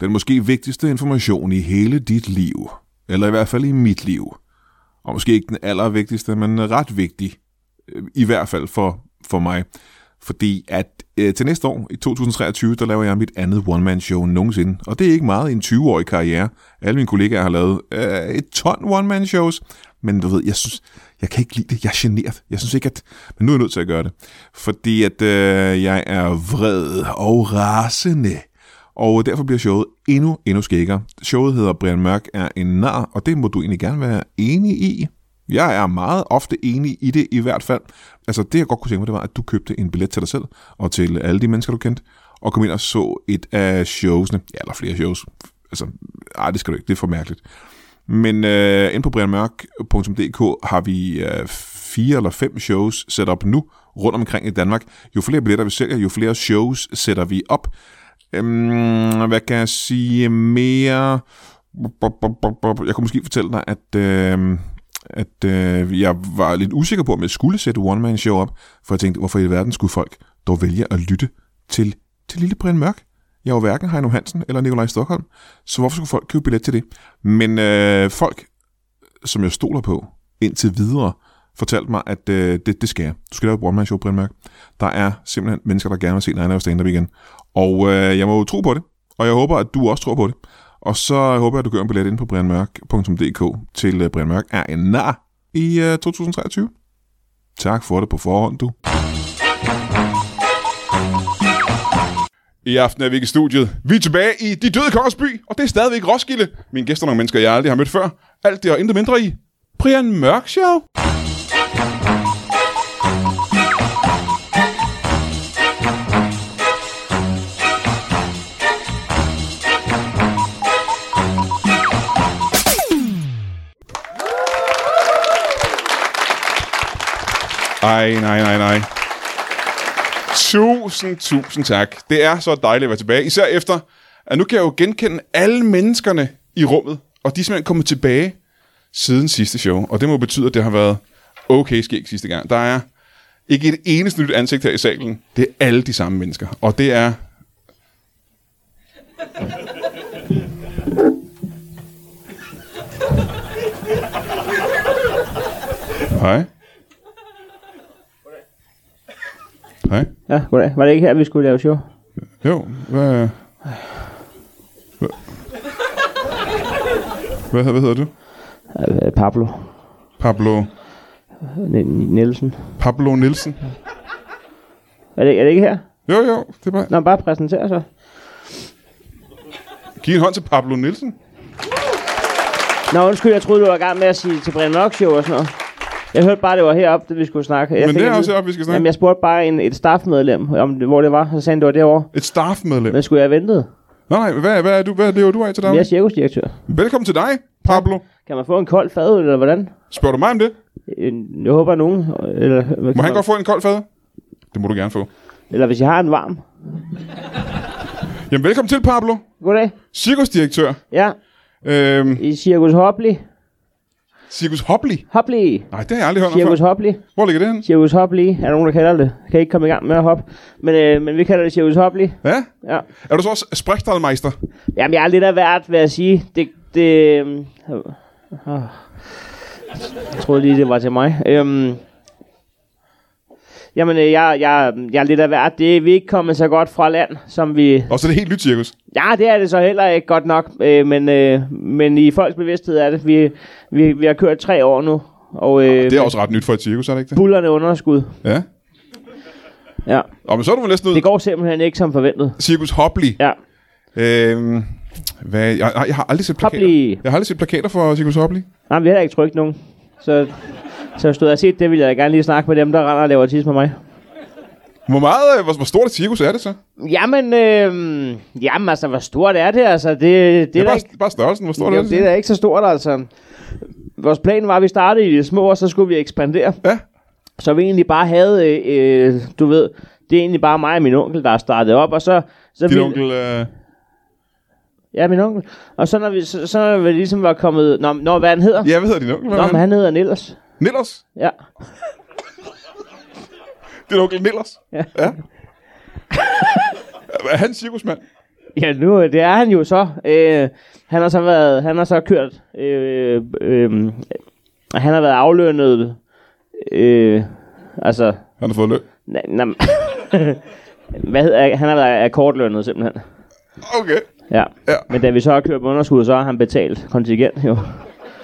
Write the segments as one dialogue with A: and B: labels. A: Den måske vigtigste information i hele dit liv, eller i hvert fald i mit liv. Og måske ikke den allervigtigste, men ret vigtig, øh, i hvert fald for, for mig. Fordi at øh, til næste år, i 2023, der laver jeg mit andet one-man-show nogensinde. Og det er ikke meget i en 20-årig karriere. Alle mine kollegaer har lavet øh, et ton one-man-shows. Men du ved, jeg synes, jeg kan ikke lide det. Jeg er generet. Jeg synes ikke, at... Men nu er jeg nødt til at gøre det. Fordi at øh, jeg er vred og rasende. Og derfor bliver showet endnu, endnu skækkere. Showet hedder Brian Mørk er en nar, og det må du egentlig gerne være enig i. Jeg er meget ofte enig i det i hvert fald. Altså det jeg godt kunne tænke mig, det var, at du købte en billet til dig selv og til alle de mennesker, du kendte, og kom ind og så et af showsene, ja, eller flere shows. Altså, ej, det skal du ikke, det er for mærkeligt. Men øh, inde på brianmørk.dk har vi øh, fire eller fem shows sat op nu rundt omkring i Danmark. Jo flere billetter vi sælger, jo flere shows sætter vi op. Øhm, hvad kan jeg sige mere? Jeg kunne måske fortælle dig, at... Øh, at øh, jeg var lidt usikker på, om jeg skulle sætte One Man Show op, for jeg tænkte, hvorfor i verden skulle folk dog vælge at lytte til, til Lille Brian Mørk? Jeg er jo hverken Heino Hansen eller Nikolaj Stockholm, så hvorfor skulle folk købe billet til det? Men øh, folk, som jeg stoler på indtil videre, fortalte mig, at øh, det, det skal jeg. Du skal lave et One Man Show, Brian Mørk. Der er simpelthen mennesker, der gerne vil se dig lave stand-up igen. Og øh, jeg må jo tro på det, og jeg håber, at du også tror på det. Og så håber jeg, at du gør en billet ind på brianmørk.dk til øh, Brian Mørk er en nar i øh, 2023. Tak for det på forhånd, du. I aften er vi ikke i studiet. Vi er tilbage i De Døde Kongers By, og det er stadigvæk Roskilde. Mine gæster er nogle mennesker, jeg aldrig har mødt før. Alt det og intet mindre i Brian Mørk Show. Ej, nej, nej, nej. Tusind, tusind tak. Det er så dejligt at være tilbage. Især efter, at nu kan jeg jo genkende alle menneskerne i rummet, og de er simpelthen kommet tilbage siden sidste show. Og det må betyde, at det har været okay skægt sidste gang. Der er ikke et eneste nyt ansigt her i salen. Det er alle de samme mennesker. Og det er... Hej. Hej.
B: Ja, goddag. Var det ikke her, vi skulle lave show?
A: Jo, hvad... øh, Hvad, hvad, hvad hedder du?
B: Ja, øh, Pablo
A: Pablo...
B: N- N- Nielsen.
A: Pablo Nielsen?
B: Er det, er det ikke her?
A: Jo, jo, det er bare...
B: Nå, bare præsentere så.
A: Giv en hånd til Pablo Nielsen.
B: Nå, undskyld, jeg troede, du var i gang med at sige til Brian Mørk Show og sådan noget. Jeg hørte bare, det var heroppe, det vi skulle snakke. Jeg
A: Men
B: fik
A: det er
B: at vide-
A: også heroppe, vi skal snakke.
B: Jamen, jeg spurgte bare en, et staffmedlem, om det, hvor det var. Så sagde han, det var derovre.
A: Et staffmedlem.
B: Men skulle jeg have ventet?
A: Nej, nej, hvad, hvad, er du, hvad lever du af til
B: Men
A: dig?
B: jeg er cirkusdirektør.
A: Velkommen til dig, Pablo.
B: Kan man få en kold fadøl, eller hvordan?
A: Spørger du mig om det?
B: Øh, Jeg håber, nogen... Eller, hvad
A: Må
B: kan
A: han godt få en kold fad? Det må du gerne få.
B: eller hvis jeg har en varm.
A: Jamen, velkommen til, Pablo.
B: Goddag.
A: Cirkusdirektør.
B: Ja,
A: Øhm,
B: i Cirkus Hopli.
A: Cirkus Hopli.
B: Hopli.
A: Nej, det har jeg aldrig hørt om
B: Cirkus
A: før.
B: Hopli.
A: Hvor ligger det henne?
B: Cirkus Hopli. Er der nogen, der kalder det? Kan ikke komme i gang med at hoppe. Men, øh, men vi kalder det Cirkus Hopli.
A: Ja?
B: Ja.
A: Er du så også sprækstadmeister?
B: Jamen, jeg er lidt af hvert, vil jeg sige. Det, det, øhm, øh, øh. jeg troede lige, det var til mig. Øhm, jamen, øh, jeg, jeg, jeg er lidt af hvert. Det er vi ikke kommet så godt fra land, som vi...
A: Og så er det helt nyt cirkus.
B: Ja, det er det så heller ikke godt nok. Øh, men, øh, men i folks bevidsthed er det. Vi, vi, vi har kørt tre år nu. Og øh,
A: Det er også ret nyt for et cirkus, er det ikke det?
B: bullerne underskud.
A: Ja.
B: Ja.
A: Og men så er du vel næsten ud.
B: Det går simpelthen ikke som forventet.
A: Cirkus Hopli.
B: Ja.
A: Øhm, hvad, jeg, jeg, jeg, har aldrig set plakater.
B: Hopli.
A: Jeg har aldrig set plakater for Cirkus Hopli.
B: Nej, vi har heller ikke trykt nogen. Så, så hvis du havde set det, ville jeg da gerne lige snakke med dem, der render og laver tis med mig.
A: Hvor meget, øh, hvor, hvor stort et cirkus er det så? Det,
B: Jamen, øh, jamen altså, hvor stort er det, altså? Det, det, det
A: er
B: er da
A: bare,
B: ikke,
A: bare størrelsen, hvor stort
B: jo,
A: er det?
B: det er da ikke så stort, altså. Vores plan var, at vi startede i det små, og så skulle vi ekspandere.
A: Ja.
B: Så vi egentlig bare havde, øh, øh, du ved, det er egentlig bare mig og min onkel, der har startet op, og så... så
A: Din
B: vi-
A: onkel, øh,
B: Ja, min onkel. Og så når vi, så, så når vi ligesom var kommet... Nå, når, hvad han hedder?
A: ja, hvad hedder din onkel? Hvad
B: Nå,
A: er
B: men han hedder Niels.
A: Nillers?
B: Ja.
A: Din onkel Nillers?
B: Ja.
A: ja. Er han cirkusmand?
B: Ja, nu øh, det er han jo så. Øh, han har så været, han har så kørt, øh, øh, han har været aflønnet, øh, altså,
A: Han har fået løn.
B: na, na, hvad hedder, han har været akkordlønnet simpelthen.
A: Okay.
B: Ja.
A: Ja.
B: Men da vi så har kørt på underskud, så har han betalt kontingent jo.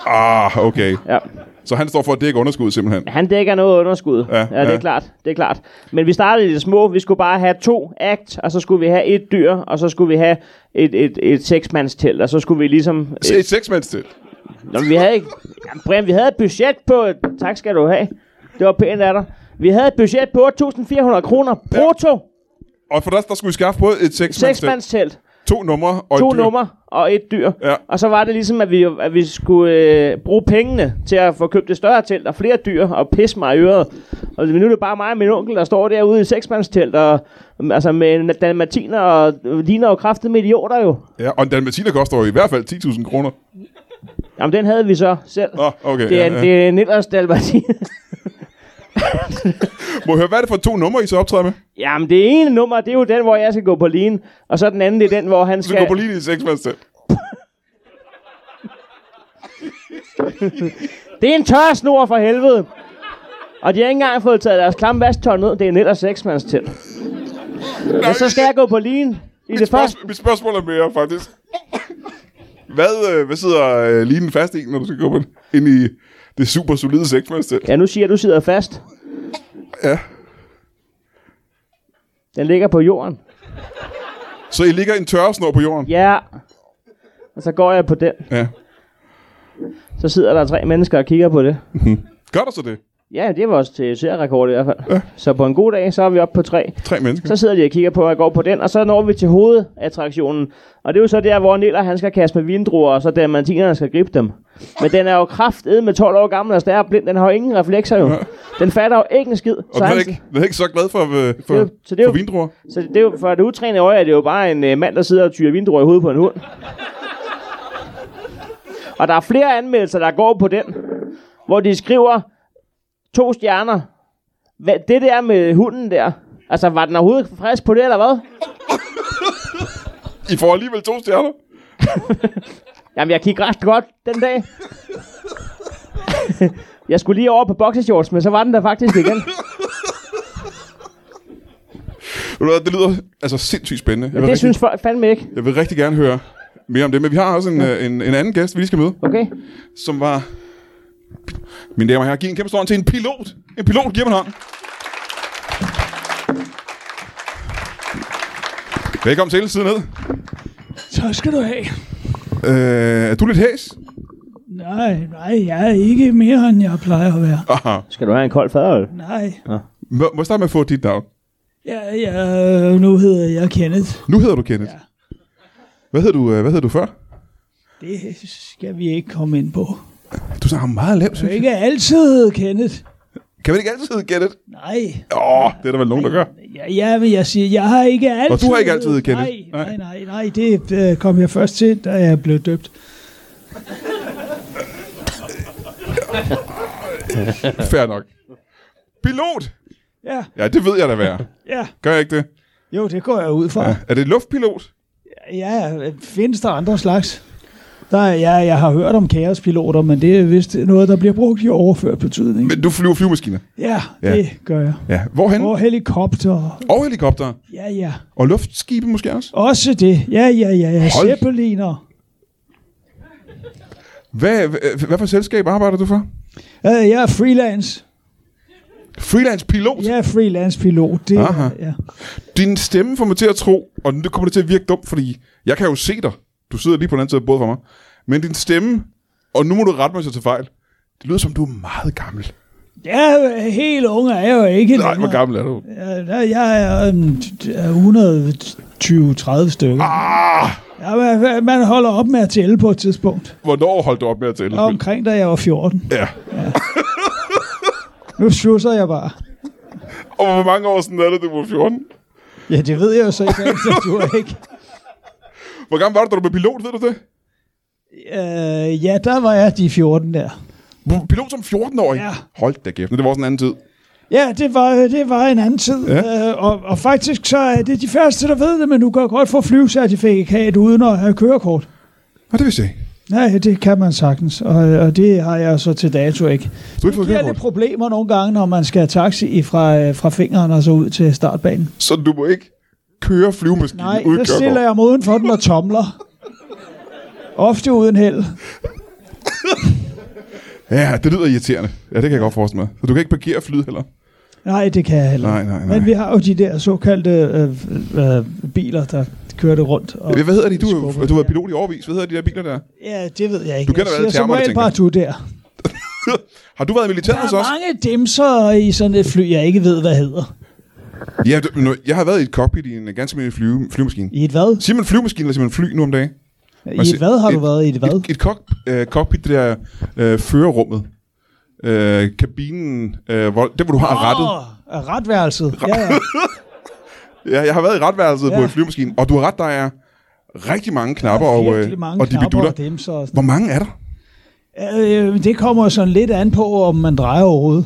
A: Ah, okay.
B: Ja.
A: Så han står for at dække underskud simpelthen.
B: Han dækker noget underskud.
A: Ja,
B: ja, det
A: ja.
B: er klart. Det er klart. Men vi startede i det små. Vi skulle bare have to act, og så skulle vi have et dyr, og så skulle vi have et, et, et seksmandstelt, og så skulle vi ligesom...
A: Se et seksmands til.
B: Nå, men vi havde ikke... Jamen, Brian, vi havde et budget på... Et... Tak skal du have. Det var pænt af dig. Vi havde et budget på 8.400 kroner. Brutto.
A: Og for dig, der skulle I skaffe både et seksmands til,
B: Seksmandstelt.
A: to numre og
B: To
A: et dyr.
B: numre og et dyr.
A: Ja.
B: Og så var det ligesom, at vi, at vi skulle øh, bruge pengene til at få købt et større telt og flere dyr og pisse mig i øret. Og nu er det bare mig og min onkel, der står derude i seksmandstelt og, altså med dalmatiner og øh, ligner jo kraftet med idioter jo.
A: Ja, og en dalmatiner koster jo i hvert fald 10.000 kroner.
B: Jamen, den havde vi så selv.
A: Nå, okay.
B: Det
A: ja,
B: er, en,
A: ja.
B: det er en ellers dalmatiner.
A: Må jeg høre, hvad er det for to numre, I så optræder med?
B: Jamen, det ene nummer, det er jo den, hvor jeg skal gå på linen. Og så den anden, det er den, hvor han
A: Så går
B: skal...
A: på lige i et seksmands til.
B: Det er en tør snor for helvede. Og de har ikke engang fået taget deres klamme vasktøj ned. Det er en ellers seksmands til.
A: Nej,
B: Og så skal jeg gå på linen. I det første...
A: spørgsmål, mit spørgsmål er mere, faktisk. Hvad, øh, hvad sidder øh, linen fast i, når du skal gå på den? ind i det super solide seksmands til?
B: Ja, nu siger jeg, du sidder fast.
A: Ja.
B: Den ligger på jorden.
A: Så I ligger en tørresnor på jorden?
B: Ja. Og så går jeg på den.
A: ja.
B: Så sidder der tre mennesker og kigger på det.
A: Gør der så det?
B: Ja, det er vores serierekord i hvert fald. Så på en god dag, så er vi oppe på tre.
A: Tre mennesker?
B: Så sidder de og kigger på, og jeg går på den, og så når vi til hovedattraktionen. Og det er jo så der, hvor Niller han skal kaste med vindruer, og så dalmatinerne skal gribe dem. Men den er jo krafted med 12 år gammel, og stærre blind. Den har jo ingen reflekser jo. Den fatter jo ikke en skid.
A: Og
B: Så,
A: den er
B: han,
A: ikke, den er ikke så glad for, øh, for,
B: Det er jo- så det er
A: for
B: jo-
A: vindruer?
B: så det er jo, for det utrænede øje er det jo bare en øh, mand, der sidder og tyrer vindruer i hovedet på en hund. Og der er flere anmeldelser, der går på den, hvor de skriver to stjerner. Hvad, det der med hunden der, altså var den overhovedet frisk på det, eller hvad?
A: I får alligevel to stjerner?
B: Jamen, jeg gik ret godt den dag. jeg skulle lige over på boxershorts, men så var den der faktisk igen.
A: Ved du hvad, Det lyder altså sindssygt spændende. Jeg vil,
B: Det
A: rigtig,
B: synes folk fandme ikke.
A: jeg vil rigtig gerne høre mere om det. Men vi har også en, øh, en, en anden gæst, vi lige skal møde.
B: Okay?
A: som var... Mine damer og herrer, giv en kæmpe stor hånd til en pilot. En pilot giver man hånd. Velkommen til, siden ned.
C: Så skal du have.
A: Øh, er du lidt hæs?
C: Nej, nej, jeg er ikke mere, end jeg plejer at være.
A: Aha.
B: Skal du have en kold faderøl?
C: Nej,
A: Må, må jeg starte med at få dit navn?
C: jeg, jeg, nu hedder jeg Kenneth.
A: Nu hedder du Kenneth.
C: Ja.
A: Hvad hed du, øh, hvad hed du før?
C: Det skal vi ikke komme ind på.
A: Du sagde ham meget lavt,
C: Du er
A: synes jeg.
C: ikke altid Kenneth.
A: Kan man ikke altid hedde Kenneth?
C: Nej,
A: Åh, oh, det er der vel nogen, der gør.
C: ja, ja, men jeg siger, jeg har ikke altid...
A: Og du har ikke altid heddet Kenneth?
C: Nej, nej, nej, nej det øh, kom jeg først til, da jeg blev døbt.
A: Fair nok. Pilot!
C: Ja,
A: Ja, det ved jeg da, hvad jeg er.
C: ja,
A: Gør jeg ikke det?
C: jo, det går jeg ud fra.
A: Ja. Er det luftpilot?
C: Ja, findes der andre slags? Der, er- ja, jeg har hørt om kaospiloter, men det er vist noget, der bliver brugt i overført betydning.
A: Men du flyver flyvemaskiner.
C: Ja,
A: Ja.
C: ja, det gør jeg.
A: Ja. Hvorhen?
C: Og helikopter.
A: Og helikopter.
C: Ja, ja.
A: Og luftskibe måske også?
C: Også det. Ja, ja, ja. ja.
A: Hold.
C: Zeppeliner.
A: Hvad, hvad, hvad for selskab arbejder du for?
C: Ja, jeg er freelance.
A: Freelance pilot.
C: Jeg er freelance-pilot. Det,
A: Aha.
C: er- ja.
A: Din stemme får mig til at tro, og nu kommer det til at virke dumt, fordi jeg kan jo se dig. Du sidder lige på den anden side af bordet for mig. Men din stemme, og nu må du rette mig, hvis jeg tager fejl. Det lyder som, du er meget gammel.
C: ja, helt unge er jeg jo ikke.
A: Nej,
C: længere.
A: hvor gammel er du?
C: Ja, der- jeg er øhm, um, 120-30 stykker.
A: Ah,
C: Ja, man, man holder op med at tælle på et tidspunkt.
A: hvornår holdt du op med at tælle?
C: Omkring da jeg var 14.
A: Ja.
C: Nu susser jeg bare.
A: Og hvor mange år siden er det, du var 14?
C: Ja, det ved jeg jo så ikke, altså, du er ikke.
A: Hvor gammel var du, da du blev pilot, ved du det?
C: Øh, ja, der var jeg de 14 der.
A: Du blev Pilot som 14-årig?
C: Ja.
A: Hold da kæft, men det var også en anden tid.
C: Ja, det var, øh, det var en anden tid.
A: Ja.
C: Ja. Øh, og, og faktisk så er det de første, der ved det, men du kan godt få flyvecertifikat uden at have kørekort.
A: Nå, det vidste jeg ikke.
C: Nej, det kan man sagtens, og, og det har jeg så til dato ikke.
A: Du har ikke
C: Det
A: fået
C: giver lidt
A: kørekort.
C: problemer nogle gange, når man skal have taxi fra, øh, fra fingeren og så ud til startbanen.
A: Så du må ikke køre flyvemaskinen
C: Nej,
A: uden
C: der
A: kørekort.
C: stiller jeg mig uden for den og tomler. Ofte uden held.
A: Ja, det lyder irriterende. Ja, det kan jeg godt forestille mig. Så du kan ikke parkere flyet heller?
C: Nej, det kan jeg heller
A: Nej,
C: ikke.
A: nej, nej.
C: Men vi har jo de der såkaldte øh, øh, biler, der kørte rundt. Og,
A: Hvad hedder de? Du,
C: skubber.
A: du har været pilot i årvis. Hvad hedder de der biler der?
C: Ja, det ved jeg ikke.
A: Du kender
C: jeg
A: alle
C: siger som
A: termer, det
C: regel
A: tænker
C: bare
A: jeg.
C: du der.
A: Har du været i militæret hos
C: Der er
A: os?
C: mange dimser i sådan et fly, jeg ikke ved, hvad hedder.
A: Ja, du- nu- jeg har været i et cockpit i en ganske almindelig flyve, flyvemaskine.
C: I et hvad?
A: Siger man flyvemaskine, eller siger man fly nu om dagen? Man
C: I et
A: siger-
C: hvad har du været? I et hvad?
A: Et, et kok, øh, cockpit, det der øh, førerrummet. Øh, kabinen, øh, hvor, det hvor du har oh. rettet.
C: Åh, retværelset. Ja, ja.
A: Ja, jeg har været i retværelset ja.
C: Ja.
A: på en flyvemaskine, og du har ret, der er rigtig mange knapper
C: Der er
A: og, øh,
C: virkelig mange
A: og de
C: knapper
A: bidutter.
C: og dimser og sådan
A: Hvor mange er der?
C: Øh, det kommer jo sådan lidt an på, om man drejer overhovedet.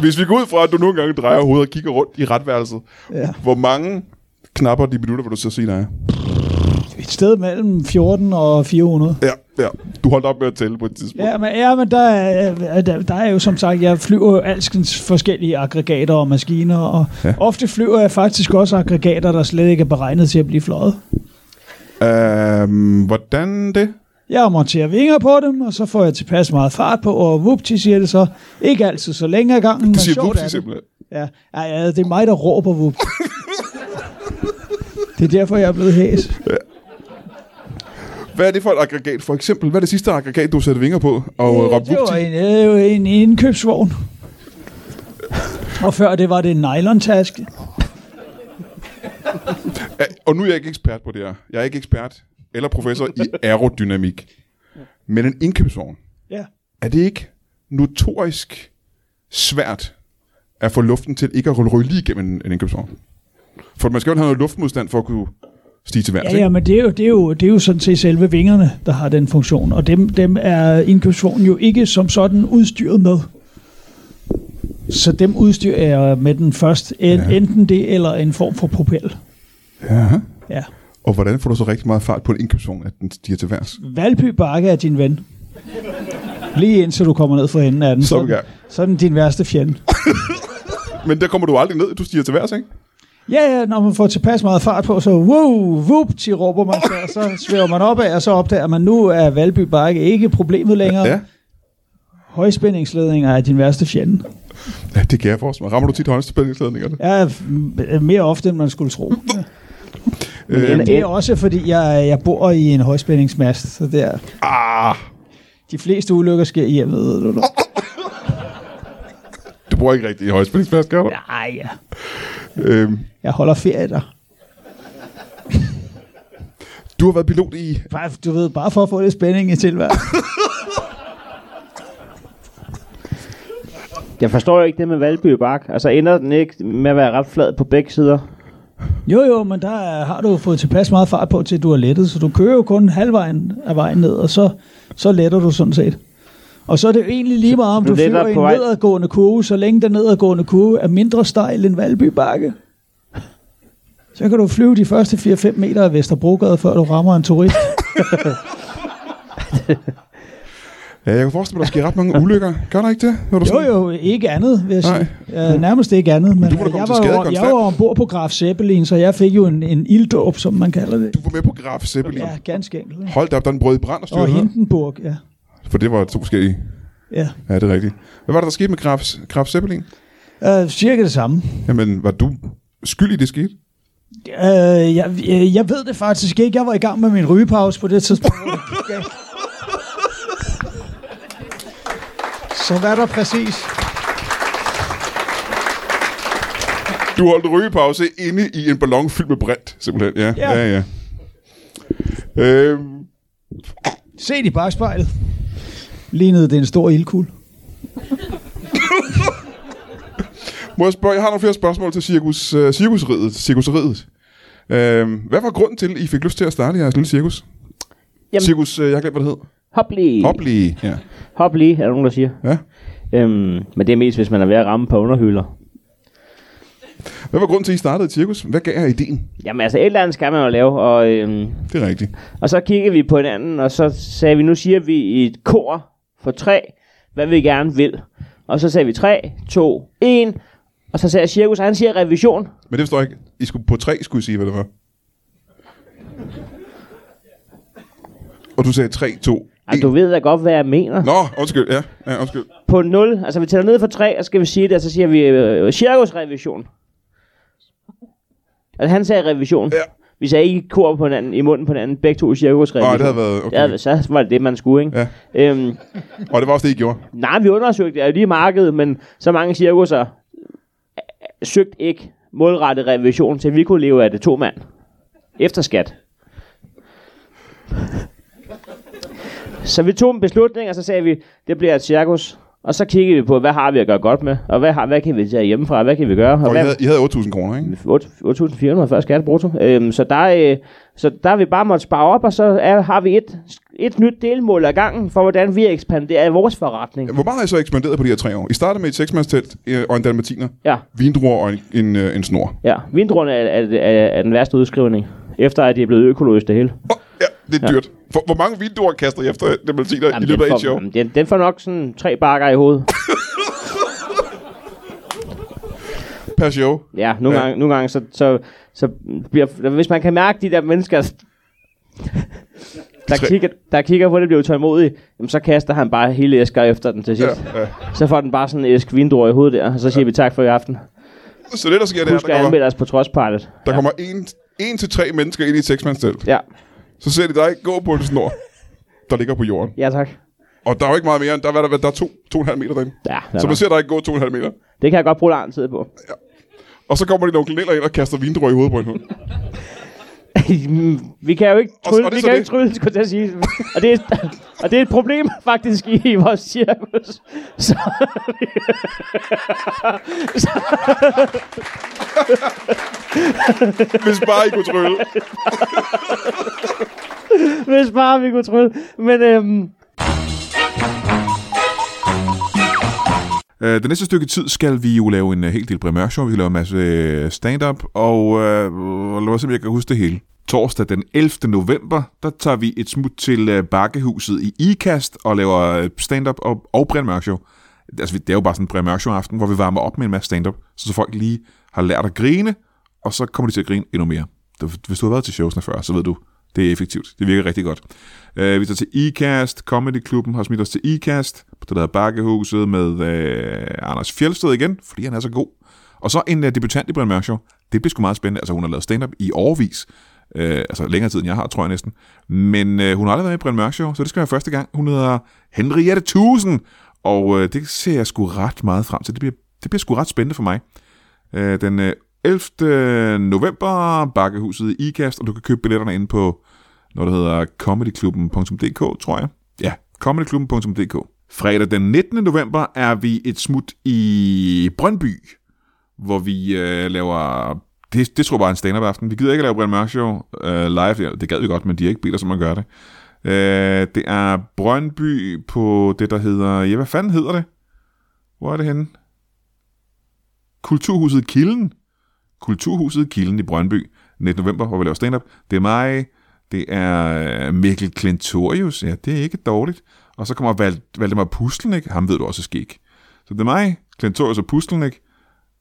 A: Hvis vi går ud fra, at du nogle gange drejer hovedet og kigger rundt i retværelset,
C: Ja.
A: hvor mange knapper de bidutter, vil du så sige, der er?
C: Et sted mellem 14 og 400.
A: Ja, ja. Du holdt op med at tælle på et tidspunkt.
C: Ja, men, ja, men der, er, der, der er jo som sagt, jeg flyver jo alskens forskellige aggregater og maskiner, og
A: Ja.
C: ja. ofte flyver jeg faktisk også aggregater, der slet ikke er beregnet til at blive fløjet.
A: Øhm, hvordan det?
C: Jeg monterer vinger på dem, og så får jeg tilpas meget fart på, og vupti siger det så. Ikke altid så længe ad gangen, men
A: Du siger
C: sjovt er
A: vupsi
C: det.
A: simpelthen.
C: Ja. Ja, ja, det er mig, der råber vup. det er derfor, jeg er blevet hæs.
A: Hvad er det for et aggregat? For eksempel, hvad er det sidste aggregat, du satte vinger på og øh,
C: Øh,
A: råbte
C: det var
A: vupti?
C: en, øh, en indkøbsvogn. Og før det var det en nylon-taske.
A: Ja, og nu er jeg ikke ekspert på det her. Jeg er ikke ekspert eller professor i aerodynamik. Men en indkøbsvogn,
C: Ja.
A: er det ikke notorisk svært at få luften til ikke at rulle rulle lige igennem en, en indkøbsvogn? For man skal jo have noget luftmodstand for at kunne stige til værts,
C: Ja, ja, men det er, jo, det, er jo, det er jo sådan set selve vingerne, der har den funktion. Og dem, dem er indkøbsvognen jo ikke som sådan udstyret med. Så dem udstyrer jeg med den først. En,
A: Ja.
C: ja. Enten det, eller en form for propel.
A: ikke? Ja.
C: Ja.
A: Og hvordan får du så rigtig meget fart på en indkøbsvogn, at den stiger til værs?
C: Valby Bakke er din ven. Lige indtil du kommer ned for enden af den.
A: Så er vi i
C: Sådan,
A: gang.
C: sådan din værste fjende.
A: Men der kommer du aldrig ned, du stiger til værs, ikke?
C: Ja, ja, når man får tilpas meget fart på, så wow, whoop, til råber man så, og så svæver man op af, og så opdager man, nu er Valby Bakke ikke problemet længere.
A: Ja.
C: Højspændingsledninger er din værste fjende.
A: ja det kan jeg forstå. Rammer du tit håndspændingsledningerne?
C: Ja, m- mere ofte, end man skulle tro.
A: Øh,
C: Men det er også, fordi jeg, jeg bor i en højspændingsmast, så det er,
A: ah,
C: de fleste ulykker sker i hjemmet. ved du da.
A: du bruger ikke rigtig højspændingsplads, gør du? Ja.
C: Nej, ja.
A: Øhm,
C: jeg holder ferie der.
A: du har været pilot i...
C: Bare, du ved, bare for at få lidt spænding i tilværelsen.
B: Jeg forstår jo ikke det med Valby Bak. Altså ender den ikke med at være ret flad på begge sider?
C: Jo, jo, men der er- har du jo fået tilpas meget fart på, til du har lettet, så du kører jo kun halvvejen af vejen ned, og så, så letter du sådan set. Og så er det jo egentlig lige meget, om
B: du
C: du,
B: letter
C: flyver i en
B: på vej-
C: nedadgående kurve, så længe den nedadgående kurve er mindre stejl end Valby Bakke. Så kan du flyve de første 4-5 meter af Vesterbrogade, før du rammer en turist.
A: Ja, jeg kan forestille mig, der sker ret mange ulykker. Gør der ikke det? Når du
C: Jo jo, ikke andet, vil jeg
A: Nej.
C: sige. Ja, nærmest ikke andet. Men
A: du må da komme
C: jeg,
A: til skade
C: var jo, jeg
A: konstant.
C: var ombord på Graf Zeppelin, så jeg fik jo en, en ilddåb, som man kalder det.
A: Du var med på Graf Zeppelin.
C: Ja, ganske enkelt. ikke?
A: Hold da op, der er en brød i brand og
C: Og
A: styrer
C: Hindenburg, ja.
A: For det var to forskellige.
C: ja.
A: Ja, det er rigtigt. Hvad var det, der skete med Graf, Graf Zeppelin?
C: Uh, cirka det samme.
A: Jamen, var du skyldig, det skete?
C: Uh, jeg, jeg, jeg ved det faktisk ikke. Jeg var i gang med min rygepause på det tidspunkt. hvor det gik galt. Så hvad er der præcis?
A: Du holdt rygepause inde i en ballon fyldt med brint, simpelthen. Ja, ja,
C: Ja.
A: ja. ja. Øhm,
C: Se i bagspejlet. Lignede det en stor ildkugle.
A: må jeg spørge, jeg har nogle flere spørgsmål til cirkus, uh, cirkusridet. cirkusridet. Øhm, hvad var grunden til, at I fik lyst til at starte jeres lille cirkus? Jamen.
B: Jamen-
A: Cirkus, øh, jeg har glemt, hvad det hed.
B: Hop lige.
A: Hopli. Ja.
B: Hop lige, er der nogen, der siger.
A: ja.
B: Øhm, men det er mest, hvis man er ved at ramme på underhylder.
D: Hvad var grunden til, at I startede et cirkus? Hvad gav jer ideen?
B: Jamen altså, et eller andet skal man jo lave, og, øhm,
D: Det er rigtigt.
B: og så kiggede vi på hinanden, og så sagde vi, nu siger vi et kor for tre, hvad vi gerne vil. Og så sagde vi 3, 2, 1, og så sagde jeg cirkus, og han siger revision.
D: Men det forstår jeg ikke. I skulle på tre, skulle I sige, hvad det var. Og du sagde 3, 2,
B: Ej,
D: 1.
B: du ved da godt, hvad jeg mener.
D: Nå, undskyld. Ja, ja undskyld.
B: på 0, altså vi tæller ned fra 3, og så skal vi sige det, og så siger vi øh, cirkusrevision. Altså han sagde revision.
D: Ja.
B: Vi sagde ikke kor på hinanden, i munden på hinanden, begge to cirkusrevision.
D: Åh, det havde været... Okay.
B: Ja, så var det det, man skulle, ikke?
D: Ja.
B: Øhm,
D: Og det var også det, I gjorde.
B: nej, vi undersøgte det, er jo lige markedet, men så mange cirkusser øh, søgte ikke målrettet revision til, vi kunne leve af det to mand. Efter skat. Så vi tog en beslutning, og så sagde vi, det bliver et cirkus. Og så kiggede vi på, hvad har vi at gøre godt med, og hvad, har, hvad kan vi tage hjemmefra, hvad kan vi gøre? Og,
D: Og I
B: hvad,
D: havde, I havde 8.000 kroner, ikke?
B: 8.400 før skat brutto. Øhm, så, der, øh, så der har vi bare måtte spare op, og så er, har vi et, et nyt delmål ad gangen for, hvordan vi ekspanderer i vores forretning.
D: Hvor meget har I så ekspanderet på de her tre år? I startede med et seksmandstelt øh, og en dalmatiner,
B: Ja,
D: vindruer og en, en, øh, en snor.
B: ja. Vindruerne er, er, er, er den værste udskrivning, efter at det er blevet økologisk det hele.
D: Oh, ja, det er dyrt. For, hvor mange vindruer kaster I efter dalmatiner i
B: den,
D: løbet af et
B: får,
D: show?
B: jamen, den, den får nok sådan tre bakker i hovedet.
D: Per show?
B: Ja, nogle,
D: Ja.
B: ja. Gange, nogle gange, så, så, så bliver, hvis man kan mærke de der mennesker, der,
D: tre-
B: kigger, der kigger på det, bliver utålmodige, jamen, så kaster han bare hele æsker efter den til sidst.
D: Ja, ja.
B: Så får den bare sådan en æsk vindruer i hovedet der, og så siger ja. vi tak for i aften.
D: Så det, der sker, det er,
B: Husk at
D: der kommer,
B: anmelde os på Trustpilot.
D: der kommer en, en til tre mennesker ind i et seksmandstelt.
B: Ja,
D: Så ser de dig gå på en snor, der ligger på jorden.
B: ja tak.
D: Og der er jo ikke meget mere, end der, hvad der, hvad der er to, to og en halv meter derinde.
B: Ja,
D: Så
B: så
D: man ser dig gå to og en halv meter.
B: det kan jeg godt bruge lang tid på.
D: Og så kommer din onkel Niller ind og kaster vindruer i hovedet på en hund.
B: vi kan jo ikke
D: Og-
B: trylle,
D: og det er
B: vi kan
D: så
B: jo
D: det.
B: ikke trylle, skulle jeg til at sige. Og det, er, og det er et problem faktisk i, i vores cirkus. Så,
D: Hvis bare I kunne trylle.
B: hvis bare vi kunne trylle. Men øhm,
D: Øh, det næste stykke tid skal vi jo lave en øh, hel del primærshow. Vi skal lave en masse øh, stand-up, og øh, lad mig se, om jeg kan huske det hele. Torsdag den 11. november, der tager vi et smut til øh, Bakkehuset i IKAST og laver øh, stand-up og, og primærshow. Altså, vi- det er jo bare sådan en primærshow-aften, hvor vi varmer op med en masse stand-up, så, så folk lige har lært at grine, og så kommer de til at grine endnu mere. Det- Hvis du har været til showsene før, så ved du, det er effektivt. Det virker rigtig godt. Øh, vi tager til ICAST. Comedy Klubben har smidt os til ICAST. På det der hedder Bakkehuset med øh, Anders Fjeldsted igen, fordi han er så god. Og så en øh, debutant i Brian Mørk Show. Det bliver sgu meget spændende. Altså, hun har lavet stand-up i årvis. Øh, altså længere tid, end jeg har, tror jeg næsten. Men øh, hun har aldrig været med i Brian Mørk Show, så det skal være første gang. Hun hedder Henriette Tusen. Og øh, det ser jeg sgu ret meget frem til. Det bliver, det bliver sgu ret spændende for mig. Øh, den øh, 11. november, Bakkehuset i IKAST, og du kan købe billetterne inde på noget, der hedder comedyklubben.dk, tror jeg. Ja, comedyklubben.dk. Fredag den 19. november er vi et smut i Brøndby, hvor vi øh, laver... Det, det tror jeg bare er en stand-up aften. Vi gider ikke at lave Brian Mørk Show øh, live. Ja, Det gad vi godt, men de har ikke biler, som man gør det. Øh, det er Brøndby på det, der hedder... Ja, hvad fanden hedder det? Hvor er det henne? Kulturhuset Kilden. Kulturhuset Kilden i Brøndby. 19. november, hvor vi laver stand-up. Det er mig, det er øh, Mikkel Klintorius. Ja, det er ikke dårligt. Og så kommer Val Valdemar Puslenik. Ham ved du også er skæg. Så det er mig, Klintorius og Puslenik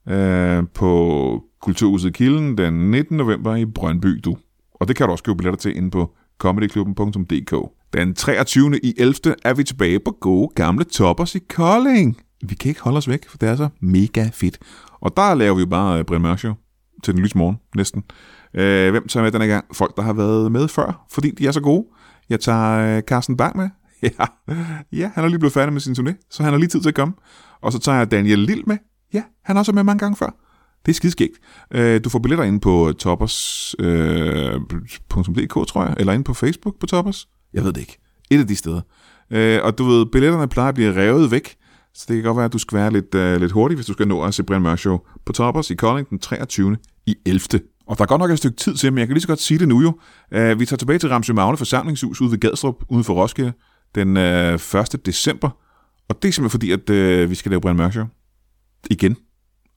D: øh, på Kulturhuset Kilden den 19. november i Brøndby, du. Og det kan du også købe billetter til inde på comedyklubben.dk. Den 23. i 11. er vi tilbage på gode gamle toppers i Kolding. Vi kan ikke holde os væk, for det er så mega fedt. Og der laver vi jo bare øh, Brian Mørk Show til den lyse morgen, næsten. Øh, hvem tager med denne gang? Folk, der har været med før, fordi de er så gode. Jeg tager øh, Carsten Bang med. Ja. ja, han er lige blevet færdig med sin turné, så han har lige tid til at komme. Og så tager jeg Daniel Lille med. Ja, han har også været med mange gange før. Det er skideskægt. Øh, Du får billetter ind på toppers.dk, øh, tror jeg, eller ind på Facebook på Toppers. Jeg ved det ikke. Et af de steder. Øh, Og du ved, billetterne plejer at blive revet væk, så det kan godt være, at du skal være lidt, øh, lidt hurtig, hvis du skal nå at se Brian Mørk Show på Toppers i Kolding den 23. i 11. Og der er godt nok et stykke tid til, men jeg kan lige så godt sige det nu jo. Øh, Vi tager tilbage til Ramsø Magne forsamlingshus ude ved Gadstrup, uden for Roskilde, den øh, 1. december. Og det er simpelthen fordi, at øh, vi skal lave Brian Mørk Show. Igen.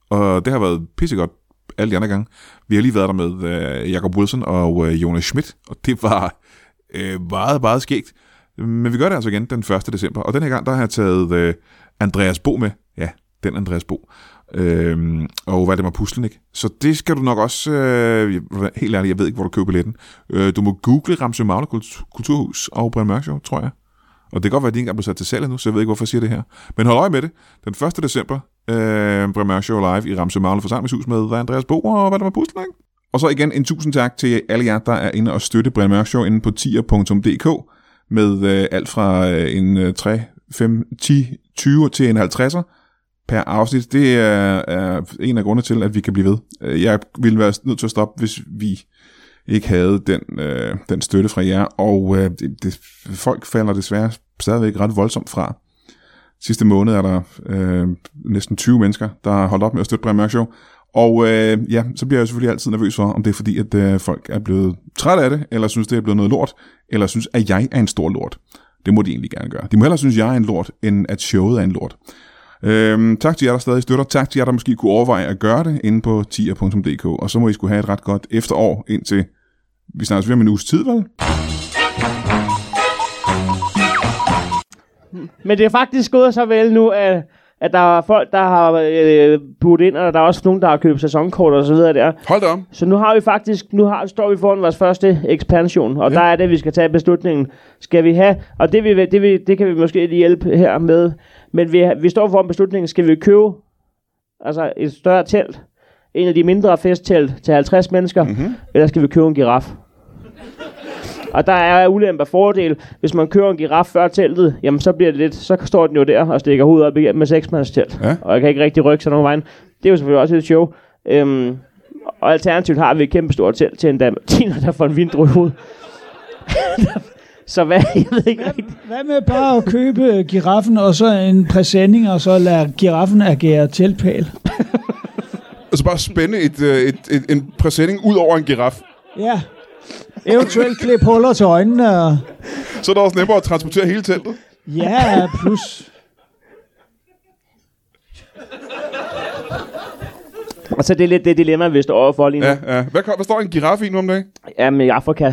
D: Og det har været pissegodt alle de andre gange. Vi har lige været der med øh, Jacob Wilson og øh, Jonas Schmidt, og det var øh, meget, meget skægt. Men vi gør det altså igen den 1. december, og den her gang der har jeg taget øh, Andreas Bo med. Ja, den Andreas Bo. Øhm, og hvad det var puslen, ikke? Så det skal du nok også... Øh, jeg- helt ærligt, jeg ved ikke, hvor du køber billetten. Øh, du må google Ramsø Magle Kultur- Kulturhus og Brian Mørk Show, tror jeg. Og det kan godt være, at de ikke engang blev sat til salg endnu, så jeg ved ikke, hvorfor jeg siger det her. Men hold øje med det. Den 1. december, øh, Brian Mørk Show live i Ramsø Magle Forsamlingshus med Andreas Bo og hvad der var puslen, ikke? Og så igen en tusind tak til alle jer, der er inde og støtte Brian Mørk Show inde på tier.dk med øh, alt fra øh, en øh, 3, 5, 10, 20 til en 50'er per afsnit. Det er, er en af grundene til, at vi kan blive ved. Øh, Jeg ville være nødt til at stoppe, hvis vi ikke havde den, øh, den støtte fra jer, og øh, det, det, folk falder desværre stadigvæk ret voldsomt fra. Sidste måned er der øh, næsten 20 mennesker, der har holdt op med at støtte Brian Mørk Show, og øh, ja, så bliver jeg jo selvfølgelig altid nervøs for, om det er fordi, at øh, folk er blevet trætte af det, eller synes, det er blevet noget lort, eller synes, at jeg er en stor lort. Det må de egentlig gerne gøre. De må hellere synes, at jeg er en lort, end at showet er en lort. Øhm, tak til jer, der stadig støtter. Tak til jer, der måske kunne overveje at gøre det inde på tier.dk. Og så må I skulle have et ret godt efterår indtil... Vi snakkes ved om en uges tid, vel?
B: Men det er faktisk gået så vel nu, at, at der er folk, der har øh, budt ind, og der er også nogen, der har købt sæsonkort og så videre der.
D: Hold da om.
B: Så nu har vi faktisk, nu har, står vi foran vores første ekspansion, og ja. der er det, vi skal tage beslutningen. Skal vi have, og det, vi, det, vi, det kan vi måske lige hjælpe her med, men vi, vi står foran beslutningen, skal vi købe altså et større telt, en af de mindre festtelt til 50 mennesker, mm-hmm. eller skal vi købe en giraf? Og der er ulempe og fordel. Hvis man kører en giraf før teltet, jamen så bliver det lidt, så står den jo der og stikker hovedet op igennem med seksmandstelt.
D: Ja.
B: Og jeg kan ikke rigtig rykke sig nogen vejen. Det er jo selvfølgelig også et show. Øhm, og alternativt har vi et kæmpe stort telt til en dalmatiner, der får en vindru i hovedet. så hvad, jeg ved ikke rigtigt.
C: Hvad med bare at købe giraffen og så en præsending, og så lade giraffen agere teltpæl?
D: Altså bare spænde et, øh, et, et, en præsending ud over en giraf.
C: Ja. Eventuelt klip huller til øjnene. Og...
D: Så er det også nemmere at transportere hele teltet.
C: Ja, plus.
B: Og så er det er lidt det dilemma, vi står overfor lige nu. Ja.
D: ja. Hvad, kom- hvad står en giraf i nu om dagen?
B: Jamen i Afrika.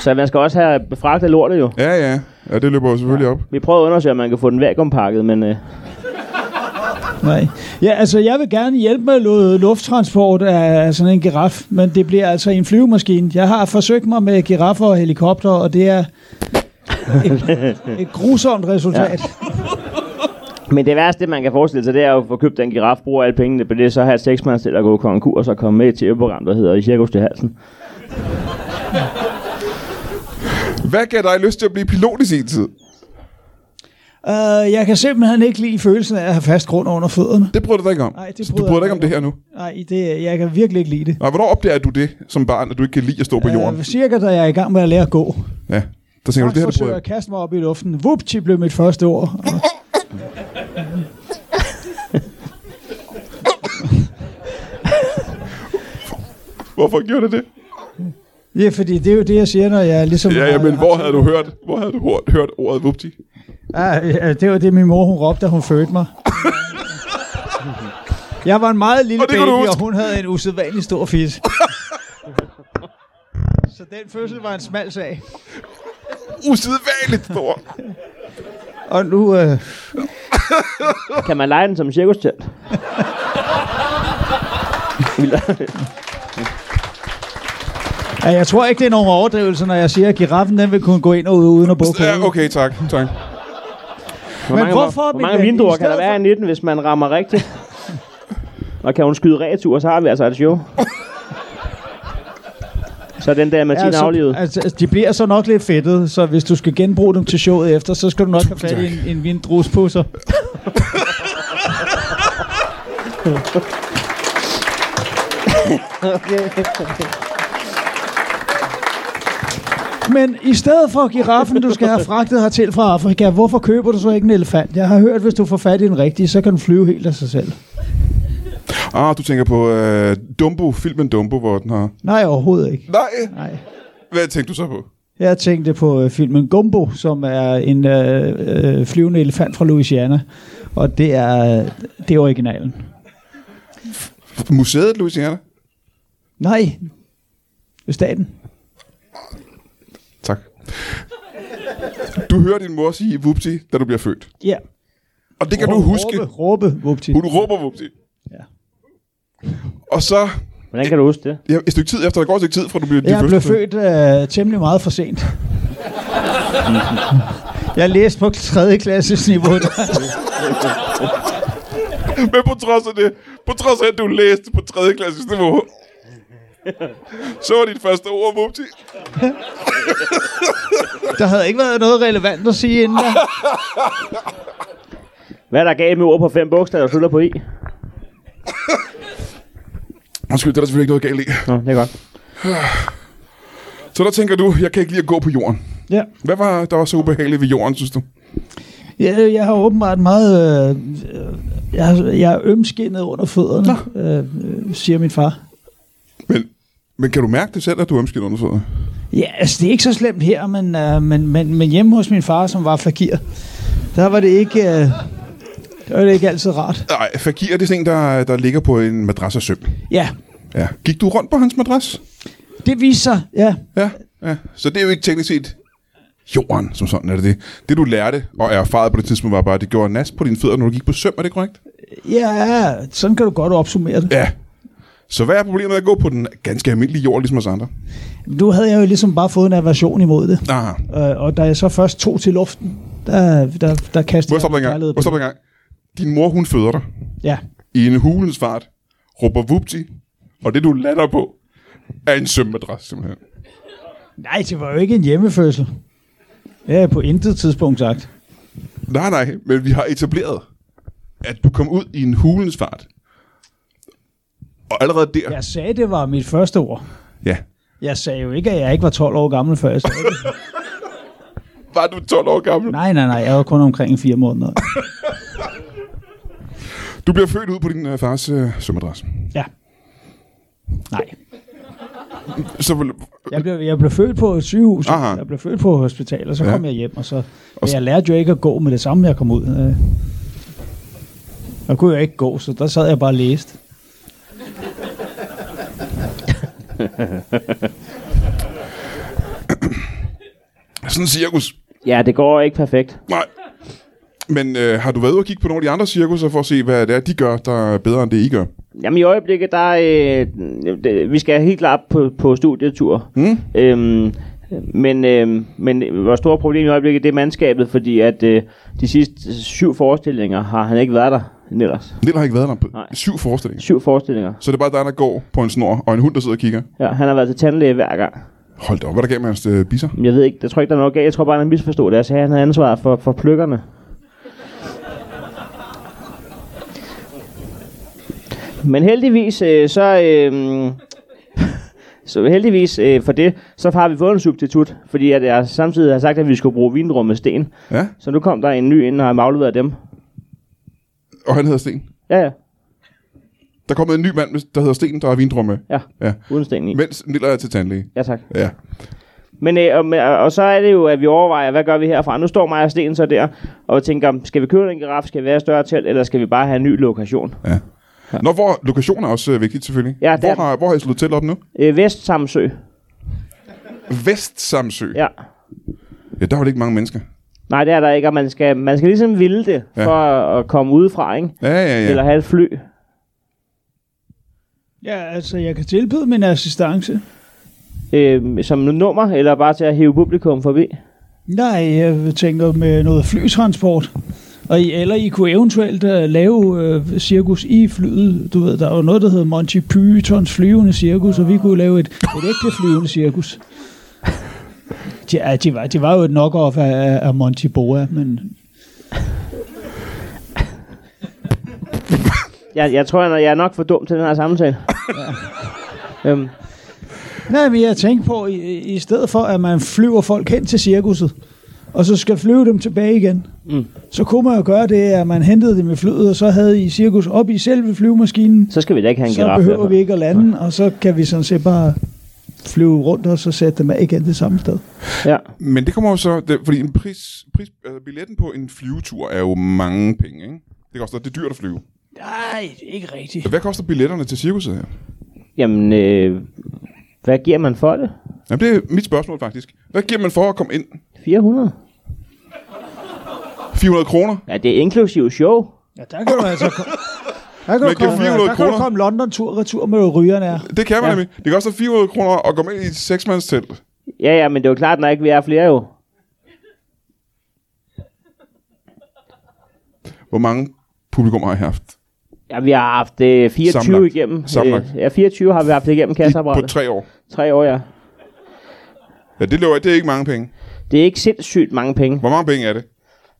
B: så man skal også have befragtet lortet jo.
D: Ja, ja. Ja, det løber jo selvfølgelig op.
B: Vi prøver at undersøge, om man kan få den vakuumpakket, men... Øh,
C: Nej. Ja, altså, jeg vil gerne hjælpe med noget lufttransport af sådan en giraf, men det bliver altså en flyvemaskine. Jeg har forsøgt mig med giraffer og helikopter, og det er et, et grusomt resultat. Ja.
B: Men det værste, man kan forestille sig, det er jo at få købt en giraf, bruge alle pengene på det, så have et seksmands til at gå konkur, og så komme med til et program, der hedder I cirkus til halsen.
D: Hvad gav dig lyst til at blive pilot i sin tid?
C: Uh, jeg kan simpelthen ikke lide følelsen af at have fast grund under fødderne.
D: Det bryder du dig ikke om.
C: Nej, det
D: Så du
C: bryder
D: bryder
C: jeg
D: dig ikke om
C: mig
D: det her nu.
C: Nej, det, jeg kan virkelig ikke lide det.
D: Nej, hvornår opdager du det som barn, at du ikke kan lide at stå på jorden?
C: Uh, cirka da jeg er i gang med at lære at gå.
D: Ja. Der tænker du,
C: Jeg
D: det her, det
C: forsøger
D: bryder
C: at kaste mig op i luften. Vupti blev mit første ord. Og-
D: Hvorfor gjorde du det?
C: Ja, fordi det er jo det, jeg siger, når jeg ligesom...
D: Ja, ja, men
C: har-
D: hvor havde du hørt, hvor havde du hørt, hørt ordet vupti?
C: Ah, ja, det var det, min mor hun råbte, da hun fødte mig. Jeg var en meget lille
D: Og det
C: baby,
D: kan du huske.
C: og hun havde en usædvanlig stor fis. Så den fødsel var en smal sag.
D: Usædvanligt stor.
C: Og nu... Øh,
B: Kan man lege den som cirkustelt?
C: ja, jeg tror ikke, det er nogen overdrivelse, når jeg siger, at giraffen den vil kunne gå ind og ud uden at bukke
D: Ja,
C: hovedet.
D: okay, tak. tak.
B: Hvor
C: Men
B: mange,
C: hvorfor,
B: hvor, hvor
C: min
B: mange
C: ven, i
B: vinduer kan
C: stedet
B: der være i 19, hvis man rammer rigtigt? og kan hun skyde retur, så har vi altså et show. så er den der Martin ja, aflivet.
C: altså, altså, de bliver så nok lidt fedtede, så hvis du skal genbruge dem til showet efter, så skal du nok have fat i en, en vindruspusser. Men i stedet for giraffen, du skal have fragtet hertil fra Afrika, hvorfor køber du så ikke en elefant? Jeg har hørt, hvis du får fat i en rigtig, så kan den flyve helt af sig selv.
D: Ah, du tænker på øh, Dumbo, filmen Dumbo, hvor den har...
C: Nej, overhovedet ikke.
D: Nej,
C: Nej.
D: hvad tænkte du så på?
C: Jeg tænkte på øh, filmen Gumbo, som er en øh, øh, flyvende elefant fra Louisiana. Og det er, det er originalen.
A: Museet, Louisiana.
C: Nej, staten.
A: Tak. Du hører din mor sige vupsi, da du bliver født.
C: Ja.
A: Og det kan du huske.
C: Råbe, råbe, vupti.
A: Hun råber vupsi.
C: Ja.
A: Og så,
B: Hvordan kan du huske det?
A: ja, et stykke tid efter, der går et stykke tid, fra du bliver din
C: Jeg blev
A: første-
C: født øh, temmelig meget for sent. Jeg læste på 3. klasses niveau.
A: Men på trods af det, på trods af, at du læste på 3. klasses niveau, så var dit første ord vupti.
C: Der havde ikke været noget relevant at sige inden da.
B: Hvad er der galt med ord på fem bogstaver, der slutter på i?
A: Undskyld, det er der selvfølgelig ikke noget galt i.
B: Nå, det er godt.
A: Så der tænker du, jeg kan ikke lide at gå på jorden.
C: Ja.
A: Hvad var der var så ubehageligt ved jorden, synes du?
C: Jeg, jeg har åbenbart meget... Øh, øh, jeg, har- jeg er ømskindet under fødderne, øh, øh, siger min far.
A: Men, men kan du mærke det selv, at du er omskidt under fødderne?
C: Ja, altså det er ikke så slemt her, men, øh, men, men, men hjemme hos min far, som var fakir, der var det ikke, øh, der var det ikke altid rart.
A: Nej, fakir det er sådan en, der, der ligger på en madras af søm.
C: Ja,
A: Ja. Gik du rundt på hans madras?
C: det viste sig, ja.
A: Ja, ja. Så det er jo ikke teknisk set jorden, som sådan er det det. Det du lærte og erfarede på det tidspunkt var bare, at det gjorde nas på dine fødder, når du gik på søm, er det korrekt?
C: Ja, sådan kan du godt opsummere det.
A: Ja. Så hvad er problemet med at gå på den ganske almindelige jord, ligesom os andre?
C: Nu havde jeg jo ligesom bare fået en aversion imod det.
A: Aha.
C: Øh, og da jeg så først tog til luften, der, der, der
A: Må
C: kastede
A: jeg stoppe dig en gang?
C: kærlighed
A: Må
C: på
A: jeg stoppe dig en gang? Din mor, hun føder dig
C: det. Ja,
A: i en hulens fart, råber vupti, og det du lander på, er en sømmadras, simpelthen.
C: nej, det var jo ikke en hjemmefødsel. Det har jeg på intet tidspunkt sagt.
A: Nej, nej, men vi har etableret, at du kom ud i en hulens fart. Og allerede der...
C: Jeg sagde, det var mit første ord.
A: ja.
C: Jeg sagde jo ikke, at jeg ikke var 12 år gammel, før jeg sagde det.
A: Var du 12 år gammel?
C: Nej, nej, nej, jeg var kun omkring fire måneder.
A: Du bliver født ud på din øh, fars øh, sømadras.
C: Ja. Nej.
A: Så, vil-
C: Jeg blev, jeg blev født på et sygehus,
A: Aha.
C: jeg blev født på hospital, og så
A: Ja.
C: ja. kom jeg hjem, og så... Men
A: så-
C: jeg lærte jo ikke at gå med det samme, jeg kom ud. øh. Jeg kunne jo ikke gå, så der sad jeg bare og læste.
A: sådan en cirkus.
B: Ja, det går ikke perfekt.
A: Nej. Men øh, har du været ude og kigge på nogle af de andre cirkusser for at se, hvad det er, de gør, der er bedre end det, I gør?
B: Jamen i øjeblikket, der er, øh, det, vi skal helt klart på, på studietur.
A: Mm.
B: Øhm, men, øhm, men vores store problem i øjeblikket, det er mandskabet, fordi at øh, de sidste syv forestillinger har han ikke været der, Nellers.
A: Niel har ikke været der på
B: Nej.
A: syv forestillinger.
B: Syv forestillinger.
A: Så det er bare dig, der går på en snor, og en hund, der sidder og kigger.
B: Ja, han har været til tandlæge hver gang.
A: Hold da op, hvad er der gav med hans øh, bisser?
B: Men Jeg ved ikke, jeg tror ikke, der er noget galt. Jeg tror bare, han misforstod det. Jeg sagde, at han havde ansvar for, for pløkkerne. Men heldigvis, øh, så... Øh, så heldigvis øh, for det, så har vi fået en substitut, fordi at jeg samtidig har sagt, at vi skulle bruge vindrum med sten.
A: Ja,
B: Så nu kom der en ny ind og har afleveret dem.
A: og han hedder Sten.
B: Ja, ja,
A: Der er kommet en ny mand, med- der hedder Sten, der har vindrumme.
B: ja.
A: Ja.
B: Uden sten i.
A: Mens Niller er til tandlæge.
B: Ja, tak.
A: Ja.
B: Men, øh, og, men- og, og så er det jo, at vi overvejer, hvad gør vi herfra? Nu står mig og Sten så der og tænker, skal vi købe en giraf, skal vi have et større telt, eller skal vi bare have en ny lokation?
A: ja. Nå, hvor lokation er også øh, vigtigt selvfølgelig.
B: Ja, det
A: hvor,
B: er den.
A: har, hvor har I slået til op nu?
B: Øh, Vest Samsø,
A: Vest Samsø.
B: ja.
A: ja. der var det ikke mange mennesker.
B: Nej, det er der ikke, og man skal, man skal ligesom ville det,
A: Ja.
B: ja. for at, at komme udefra, ikke?
A: Ja, ja, ja.
B: Ja. Eller have et fly.
C: Ja, altså, jeg kan tilbyde min assistance.
B: Øh, som nummer, eller bare til at hive publikum forbi.
C: Nej, jeg tænker med noget flytransport. Og I, eller I kunne eventuelt uh, lave uh, cirkus i flyet. Du ved, der er jo noget, der hedder Monty Pythons flyvende cirkus, og vi kunne lave et, et ægte flyvende cirkus. Ja, de var, de var jo et knock-off af, af- af Monty Boa, men
B: Jeg, jeg tror, jeg er nok for dum til den her samtale. Ja. Øhm,
C: Nej, men jeg tænkte på, i, i stedet for, at man flyver folk hen til cirkuset, og så skal flyve dem tilbage igen,
B: Mm.
C: mm. så kunne man jo gøre det, at man hentede dem i flyet, og så havde I cirkus op i selve flyvemaskinen,
B: så skal vi da ikke have en
C: så
B: giraf.
C: behøver
B: derfor.
C: vi ikke at lande, og så kan vi sådan set bare flyve rundt og så sætte dem af igen det samme sted.
B: Ja.
A: Men det kommer jo så, det, fordi en pris, pris, altså billetten på en flyvetur er jo mange penge, ikke? Det koster, det er dyrt at flyve.
C: Nej, ikke rigtigt.
A: Hvad koster billetterne til cirkuset her?
B: Jamen, øh, hvad giver man for det?
A: Jamen, det er mit spørgsmål faktisk. Hvad giver man for at komme ind?
B: 400?
A: 400 kroner?
B: Ja, det er inklusive show.
C: Ja, der kan du altså komme... Der kan,
A: Man
C: du
A: giver
C: komme,
A: 400
C: der kan du
A: kroner.
C: komme London tur retur med rygerne er.
A: Det kan man ja. nemlig. Det koster 400 kroner at komme ind i et seksmandstelt.
B: Ja, ja, men det er jo klart, når ikke vi er flere jo.
A: Hvor mange publikum har I haft?
B: Ja, vi har haft øh, 24
A: Sammenlagt.
B: igennem.
A: Sammenlagt.
B: Øh, ja, 24 har vi haft igennem
A: I, på
B: kasseapparatet.
A: tre år.
B: Tre år, ja.
A: Ja, det løber, det er ikke mange penge.
B: Det er ikke sindssygt mange penge.
A: Hvor mange penge er det?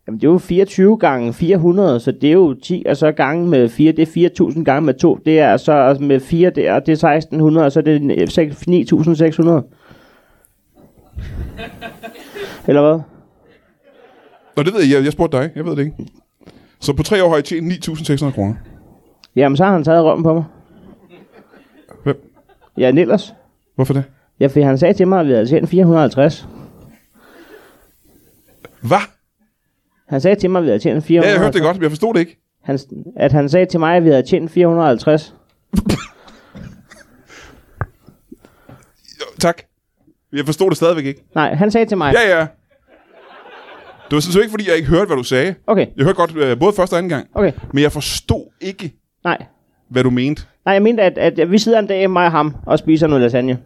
B: Jamen, det er jo 24 gange 400, så det er jo 10, og så gange med 4, det er 4.000 gange med 2, det er så med 4 der, det er 1.600, og så er det en- seks- 9.600. Eller hvad?
A: Nå, det ved jeg. Jeg, jeg spurgte dig. Jeg ved det ikke. Så på tre år har I tjent 9.600 kroner.
B: Jamen, så har han taget røven på mig.
A: Hvem?
B: Ja, Nillers.
A: Hvorfor det?
B: Ja, for han sagde til mig, at vi havde tjent 450.
A: Hvad?
B: Han sagde til mig, at vi havde tjent 450.
A: Ja, jeg hørte det godt, men jeg forstod det ikke.
B: Han, at han sagde til mig, at vi havde tjent 450.
A: Jo, tak. Jeg forstod det stadigvæk ikke.
B: Nej, han sagde til mig.
A: Ja, ja. Det var sådan set ikke, fordi jeg ikke hørte, hvad du sagde.
B: Okay,
A: Jeg hørte godt øh, både første og anden gang.
B: okay.
A: Men jeg forstod ikke,
B: Nej.
A: hvad du mente.
B: Nej, jeg mente, at, at vi sidder en dag, mig og ham, og spiser noget lasagne.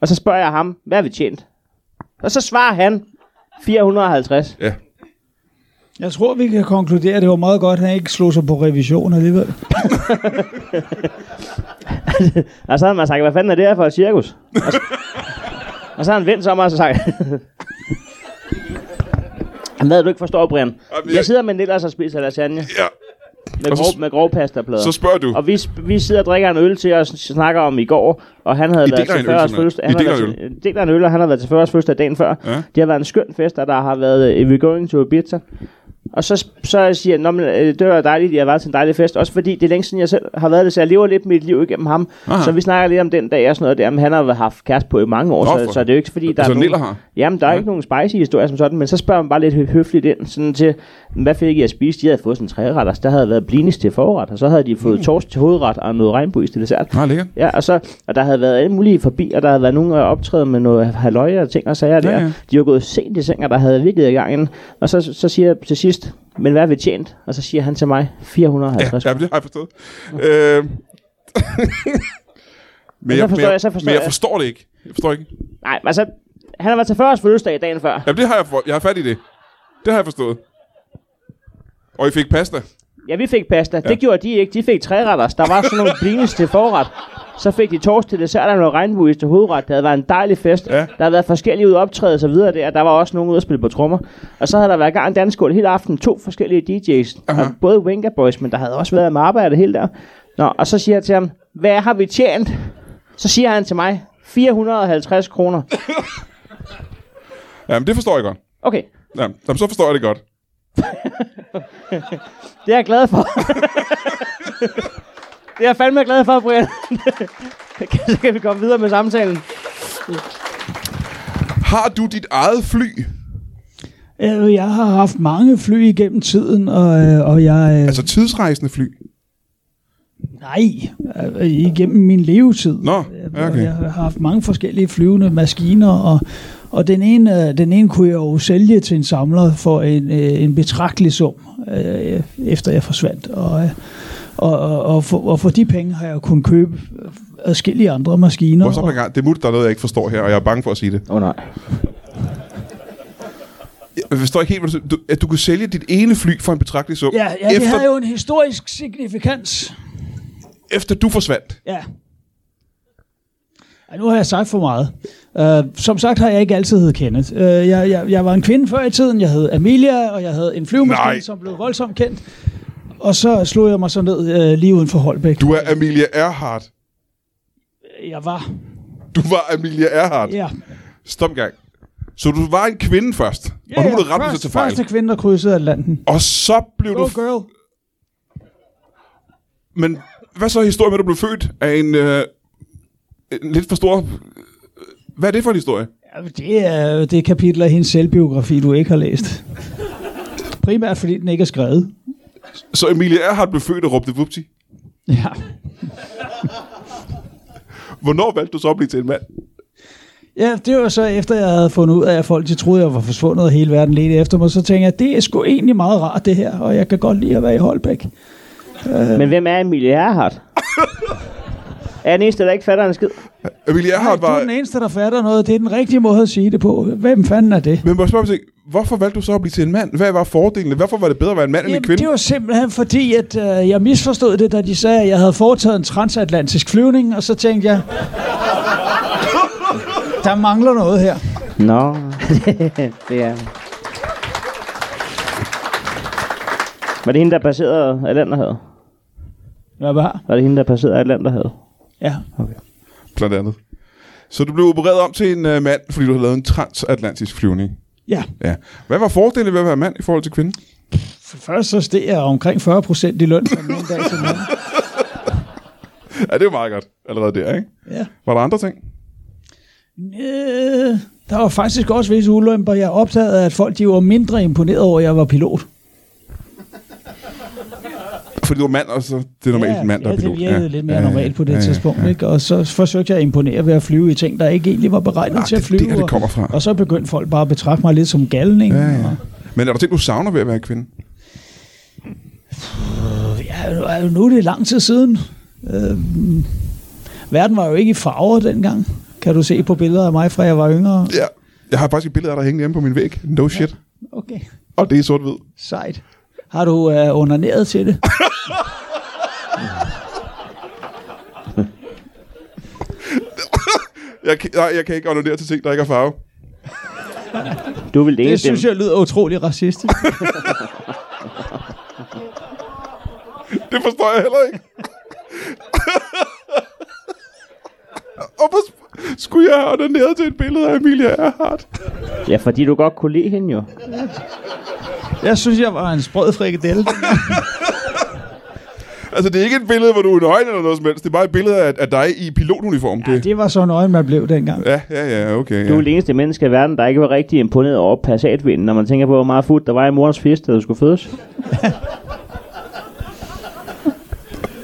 B: Og så spørger jeg ham, hvad har vi tjent? Og så svarer han, 450.
A: Ja.
C: Jeg tror, vi kan konkludere, at det var meget godt, at han ikke slog sig på revision alligevel.
B: Og så havde man sagt, hvad fanden er det her for et cirkus? Og så, og så har han vendt sig om mig og så sagt... Jamen, Hvad du ikke forstår, Brian?
A: jeg-
B: Jeg sidder med Nillers og spiser lasagne
A: ja.
B: med,
A: Og så-
B: grov, med grovpastaplader.
A: Så spørger du.
B: Og vi, sp- vi sidder og drikker en øl til, og s- snakker om i går, og han havde
A: I
B: været
A: deler
B: til
A: en øl,
B: 40
A: simpelthen.
B: fødselsdag. Han
A: I
B: havde
A: deler
B: været til- øh, deler en øl, og han har været til 40 fødselsdag dagen før.
A: Ja.
B: Det har været en skøn fest, og der har været øh, We're Going to Ibiza. Og så, sp- så siger jeg, "Nå, men, øh, det var dejligt, at jeg har været til en dejlig fest. Også fordi det er længe siden, jeg selv har været det, så jeg lever lidt mit liv igennem ham.
A: Aha.
B: Aha. Så vi snakker lidt om den dag og sådan noget der. Men han har jo haft kæreste på i mange år,
A: Nå,
B: så,
A: for-
B: så det er jo ikke fordi, der
A: Altså,
B: er nogen...
A: Niller har?
B: Jamen, der er
A: Ja.
B: ja. ikke nogen spicy historie som sådan, men så spørger man bare lidt hø- høfligt ind, sådan til, hvad fik I at spise? De havde fået sådan en træretters, der havde været blinis til forret, og så havde de fået mm. torsk til hovedret og noget regnbuis til dessert.
A: Nej, lækkert.
B: Ja, og, så, og der havde været alle mulige forbi, og der havde været nogen at optræde med noget halvøje og ting og sager der.
A: ja.
B: De var gået sent i seng, og der havde virkelig i gangen. Og så, så siger jeg til sidst, men hvad har vi tjent? Og så siger han til mig, 450.
A: Ja, det har jeg forstået. Øh... men,
B: forstår jeg, så forstår
A: men jeg
B: jeg.
A: forstår det ikke. Jeg forstår ikke.
B: Nej, altså, han har været til 40 fødselsdag dagen før.
A: Jamen, det har jeg, for... jeg har fat i det. Det har jeg forstået. Og I fik pasta.
B: Ja, vi fik pasta. Ja. Det gjorde de ikke. De fik træretters. Der var sådan nogle blinis til forret. Så fik de torsk til dessert og noget regnbuis til hovedret. Det havde været en dejlig fest.
A: Ja.
B: Der havde været forskellige ud optræde og så videre der. Der var også nogen ude at spille på trommer. Og så havde der været gang en dansk hele aften. To forskellige DJ's. Og både Wenga Boys, men der havde også været Marba og det hele der. Nå, og så siger jeg til ham, hvad har vi tjent? Så siger han til mig, 450 kroner.
A: Jamen, det forstår jeg godt.
B: Okay,
A: Jamen, jamen, så forstår jeg det godt.
B: det er jeg glad for. det er jeg fandme glad for, Brian. så kan vi komme videre med samtalen.
A: Har du dit eget fly?
C: Øh, Jeg har haft mange fly igennem tiden, og, øh, og jeg... øh,
A: Altså tidsrejsende fly?
C: Nej, øh, igennem min levetid.
A: Nå, ja,
C: Jeg-
A: okay.
C: Jeg har haft mange forskellige flyvende maskiner, og, og den, ene, øh, den ene kunne jeg jo sælge til en samler for en, øh, en betragtelig sum, øh, efter jeg forsvandt. Og, øh, og, og, og, for, og for de penge har jeg kunnet købe øh, adskillige andre maskiner.
A: Hvor så
C: og,
A: man gang? Det er muligt, der er noget, jeg ikke forstår her, og jeg er bange for at sige det.
B: Åh oh, nej.
A: Jeg forstår ikke helt, hvad du, du- at du kunne sælge dit ene fly for en betragtelig sum,
C: ja, ja, det
A: efter,
C: havde jo en historisk signifikans.
A: efter du forsvandt.
C: Ja. Ej, nu har jeg sagt for meget. Uh, som sagt har jeg ikke altid heddet Kenneth. Uh, jeg, jeg, jeg var en kvinde før i tiden. Jeg hed Amelia, og jeg havde en
A: Nej.
C: flyvemaskine, som blev voldsomt kendt. Og så slog jeg mig så ned uh, lige uden for Holbæk.
A: Du er Amelia Earhart.
C: Jeg var.
A: Du var Amelia Earhart.
C: Ja.
A: Stop en gang. Så du var en kvinde først, og nu må du rette mig
C: først-
A: til fejl.
C: Første kvinde, der krydsede Atlanten.
A: Og så blev
C: Go
A: du...
C: girl.
A: Men hvad så er historien med, at du blev født af en, øh, en lidt for stor Hvad er det for en historie?
C: Ja, Det er det kapitel af hendes selvbiografi, du ikke har læst. Primært fordi den ikke er skrevet.
A: Så Emilie Erhardt blev født og råbte vupti.
C: Ja.
A: Hvornår valgte du så at blive til en mand?
C: ja, det var så efter, jeg havde fundet ud af, at folk de troede, jeg var forsvundet, og hele verden ledte efter mig. Så tænkte jeg, det er sgu egentlig meget rart det her, og jeg kan godt lide at være i Holbæk.
B: Men hvem er Emilie Erhardt? er jeg den eneste, der ikke fatter en skid?
A: Emilie
C: Nej,
A: Erhardt
C: du
A: var...
C: er den eneste, der fatter noget. Det er den rigtige måde at sige det på. Hvem fanden er det?
A: Men må jeg spørge om en ting? hvorfor valgte du så at blive til en mand? Hvad var fordelene? Hvorfor var det bedre at være en mand end en
C: Jamen,
A: kvinde?
C: det var simpelthen fordi, at øh, jeg misforstod det, da de sagde, at jeg havde foretaget en transatlantisk flyvning, og så tænkte jeg, der mangler noget her.
B: Nå, det er... Var det hende, der passerede Atlanterhavet?
C: Ja, hvad?
B: Var det hende, der passerede Atlanterhavet?
C: Ja.
A: Blandt andet. Så du blev opereret om til en uh, mand, fordi du havde lavet en transatlantisk flyvning.
C: ja.
A: Ja. Hvad var fordelene ved at være mand i forhold til kvinde?
C: For først så steg jeg omkring 40 procent i løn fra den ene dag til den anden.
A: Ja, det er jo meget godt allerede der, ikke?
C: Ja.
A: Var der andre ting?
C: Øh, der var faktisk også visse ulemper. Jeg opdagede, at folk de var mindre imponeret over, at jeg var pilot.
A: Fordi du var mand, og så det er normalt en mand, der
C: ja, altså,
A: er pilot.
C: det virkede lidt mere normalt på det tidspunkt. Ikke? Og så forsøgte jeg at imponere ved at flyve i ting, der ikke egentlig var beregnet
A: Ah,
C: til at
A: det er
C: flyve.
A: der, det
C: og-
A: kommer fra.
C: Og så begyndte folk bare at betragte mig lidt som galning.
A: Ja, ja.
C: Og,
A: Men er der ting, du savner ved at være kvinde?
C: ja, nu er- nu er det lang tid siden. Øh, verden var jo ikke i farver dengang. Kan du se på billeder af mig, fra jeg var yngre?
A: Ja. Jeg har faktisk et billede af dig hængende hjemme på min væg. No shit.
C: Okay,
A: Og det er sort-hvid.
C: sejt. Har du øh, onaneret til det?
A: Jeg kan, nej, jeg kan ikke ordinere til ting, der ikke er farve.
B: Du vil det
C: Det
B: eneste...
C: synes jeg lyder utrolig racistisk.
A: Det forstår jeg heller ikke. Og hvor sp- skulle jeg have ordineret til et billede af Emilia Earhart?
B: Ja, fordi du godt kunne lide hende jo.
C: Jeg synes, jeg var en sprød frikadelle.
A: Altså, det er ikke et billede, hvor du er nøgen eller noget som helst. Det er bare et billede af, af dig i pilotuniform.
C: Ja, det var så nøje, man blev dengang.
A: ja, ja, ja, okay.
B: Du
A: Ja.
B: er det eneste menneske i verden, der ikke var rigtig imponeret over Passatvinden, når man tænker på, hvor meget fut der var i morens fisk, da du skulle fødes.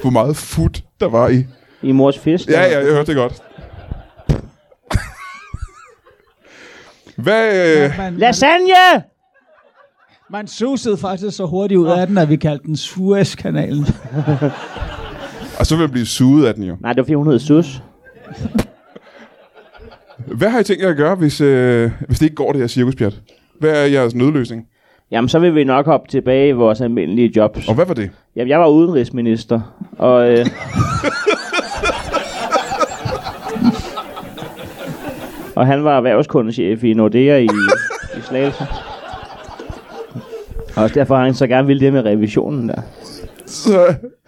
A: Hvor meget fut der var i.
B: I mors fisk.
A: Ja, ja, jeg hørte det godt. Hvad... Øh,
C: Man, man,
B: Lasagne!
C: man susede faktisk så hurtigt ud af den, at vi kaldte den Suez-kanalen.
A: og så vil jeg blive suget af den jo.
B: Nej, det var 400 sus.
A: Hvad har I tænkt jer at gøre, hvis, øh, hvis det ikke går, det her cirkuspjat? Hvad er jeres nødløsning?
B: Jamen, så vil vi nok hoppe tilbage i vores almindelige jobs.
A: Og hvad var det?
B: Jamen, jeg var udenrigsminister, og... Øh, og han var erhvervskundechef i Nordea i, i Slagelse. Og derfor har han så gerne ville det med revisionen der.
A: Så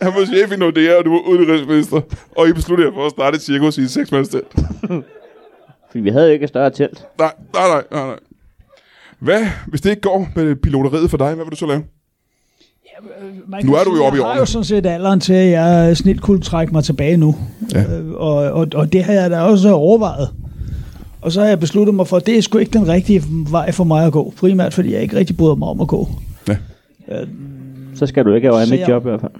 A: han var chef i Nordea, og du var udenrigsminister. Og I besluttede jer for at starte et cirkus i et seksmandstelt.
B: Fordi vi havde jo ikke et større telt.
A: Nej, nej, nej, nej, nej. Hvad, hvis det ikke går med piloteriet for dig, hvad vil du så lave?
C: Man
A: Nu
C: kan
A: er du jo
C: sige,
A: oppe i
C: Jeg har
A: årene.
C: jo sådan set alderen til, at jeg snilt kunne trække mig tilbage nu.
A: Ja.
C: Øh, og, og, og det har jeg da også overvejet. Og så har jeg besluttet mig for, at det er sgu ikke den rigtige vej for mig at gå. Primært fordi jeg ikke rigtig bryder mig om at gå.
B: Så skal du ikke have
C: Så
B: mit
C: jeg-
B: job i hvert fald.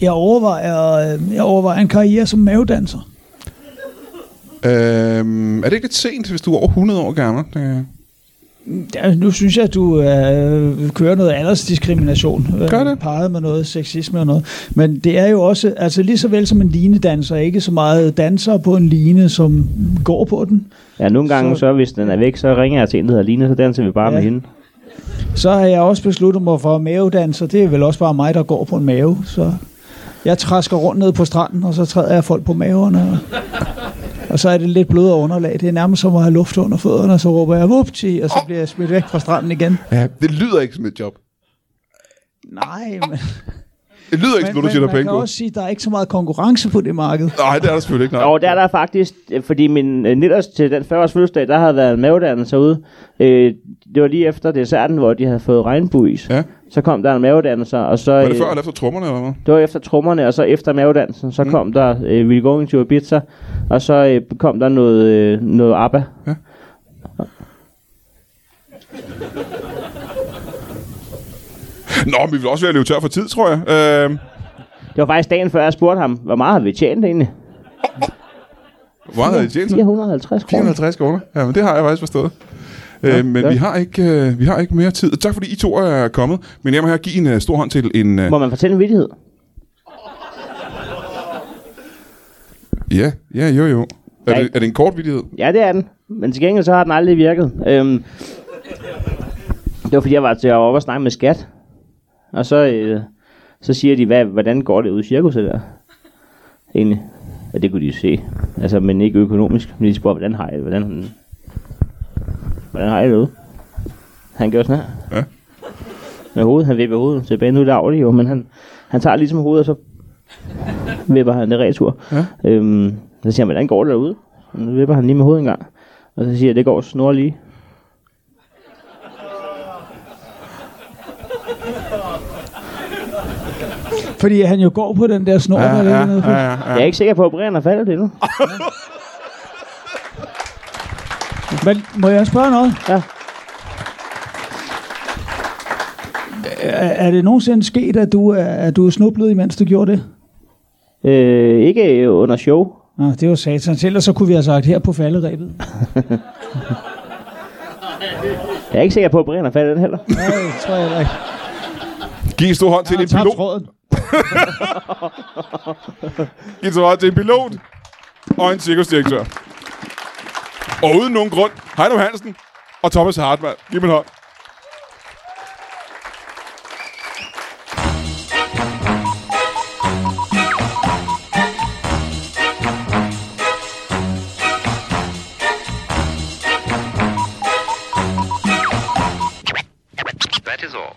C: Jeg overvejer, øh, jeg overvejer en karriere som mavedanser.
A: Øhm, er det ikke lidt sent, hvis du er over 100 år gammel? Øh,
C: Ja, nu synes jeg, at du øh, kører noget aldersdiskrimination. Øh,
A: Gør det.
C: Peget med noget sexisme og noget. Men det er jo også, altså lige så vel som en linedanser, ikke så meget danser på en line, som går på den.
B: Ja, nogle gange, så...
C: Så-
B: hvis den er væk, så ringer jeg til en, der hedder Line, så danser vi bare ja.
C: Ja.
B: med hende.
C: Så har jeg også besluttet mig for at mavedanser. Det er vel også bare mig, der går på en mave. Så jeg træsker rundt ned på stranden, og så træder jeg folk på maverne. Og, og så er det lidt blødere underlag. Det er nærmest som at have luft under fødderne, og så råber jeg, vupti, og så bliver jeg smidt væk fra stranden igen.
A: ja, det lyder ikke som et job.
C: Nej, men...
A: Det lyder ikke, som noget, du siger, der er
C: man kan
A: penge på.
C: også sige, at der er ikke så meget konkurrence på det marked.
A: Nej, det er der selvfølgelig ikke. Nej.
B: Og der er der faktisk, øh, fordi min øh, nitters til den 40-års fødselsdag, der havde været en mavedannelse ude. Øh, det var lige efter desserten, hvor de havde fået regnbuis.
A: Ja.
B: Så kom der en mavedannelse, og så...
A: Var det
B: øh,
A: før eller efter trommerne eller hvad?
B: Det var efter trommerne, og så efter mavedansen, så mm. kom der øh, We're Going to Ibiza, og så øh, kom der noget, øh, noget ABBA.
A: Ja. Nå, men vi vil også være løbet tør for tid, tror jeg. Øh,
B: Det var faktisk dagen før, jeg spurgte ham, hvor meget har vi tjent egentlig?
A: Mm. hvor meget havde I tjent?
B: 450 kroner.
A: 450 kroner. Ja, men det har jeg faktisk forstået. Ja, øh, men
B: ja.
A: vi, har ikke, øh, vi har ikke mere tid. Tak fordi I to er kommet. Men jeg må her give en øh, stor hånd til en... Øh,
B: Må man fortælle en vittighed?
A: ja, ja, jo, jo. Er
B: Ja.
A: det, er det en kort vidighed?
B: Ja, det er den. Men til gengæld så har den aldrig virket. Øhm, det var fordi, jeg var, til, jeg var oppe og snakke med skat. Og så, øh, så siger de, hvad, hvordan går det ude i cirkuset der? Egentlig. Og det kunne de jo se. Altså, men ikke økonomisk. Men de spurgte, hvordan har jeg det? Hvordan, hvordan har jeg det ude? Han gør sådan her.
A: Ja.
B: Med hovedet. Han vipper hovedet tilbage. Nu er det Audi jo, men han, han tager ligesom hovedet, og så vipper han det retur. Ja. Øhm, så siger han, hvordan går det derude? Nu vipper han lige med hovedet en gang. Og så siger jeg, det går snor lige.
C: Fordi han jo går på den der snor, ja, der ligger ja, nede på. Ja, ja.
B: Ja. Jeg er ikke sikker på, at Brian har faldet det nu.
C: Men må jeg spørge noget?
B: Ja.
C: Er, er det nogensinde sket, at du er, at du er snublet, imens du gjorde det?
B: Øh, ikke øh, under show.
C: Nå, det var satans. Ellers så kunne vi have sagt her på falderæbet.
B: Jeg er ikke sikker på, at Brian har faldet den heller.
C: Nej, det tror jeg da ikke.
A: Giv en stor hånd til en
C: Jeg har tabt
A: pilot.
C: tråden.
A: Giv en stor hånd til en pilot. Og en cirkusdirektør. Og uden nogen grund, Heino Hansen og Thomas Hartmann. Giv mig en hånd.
E: That is all.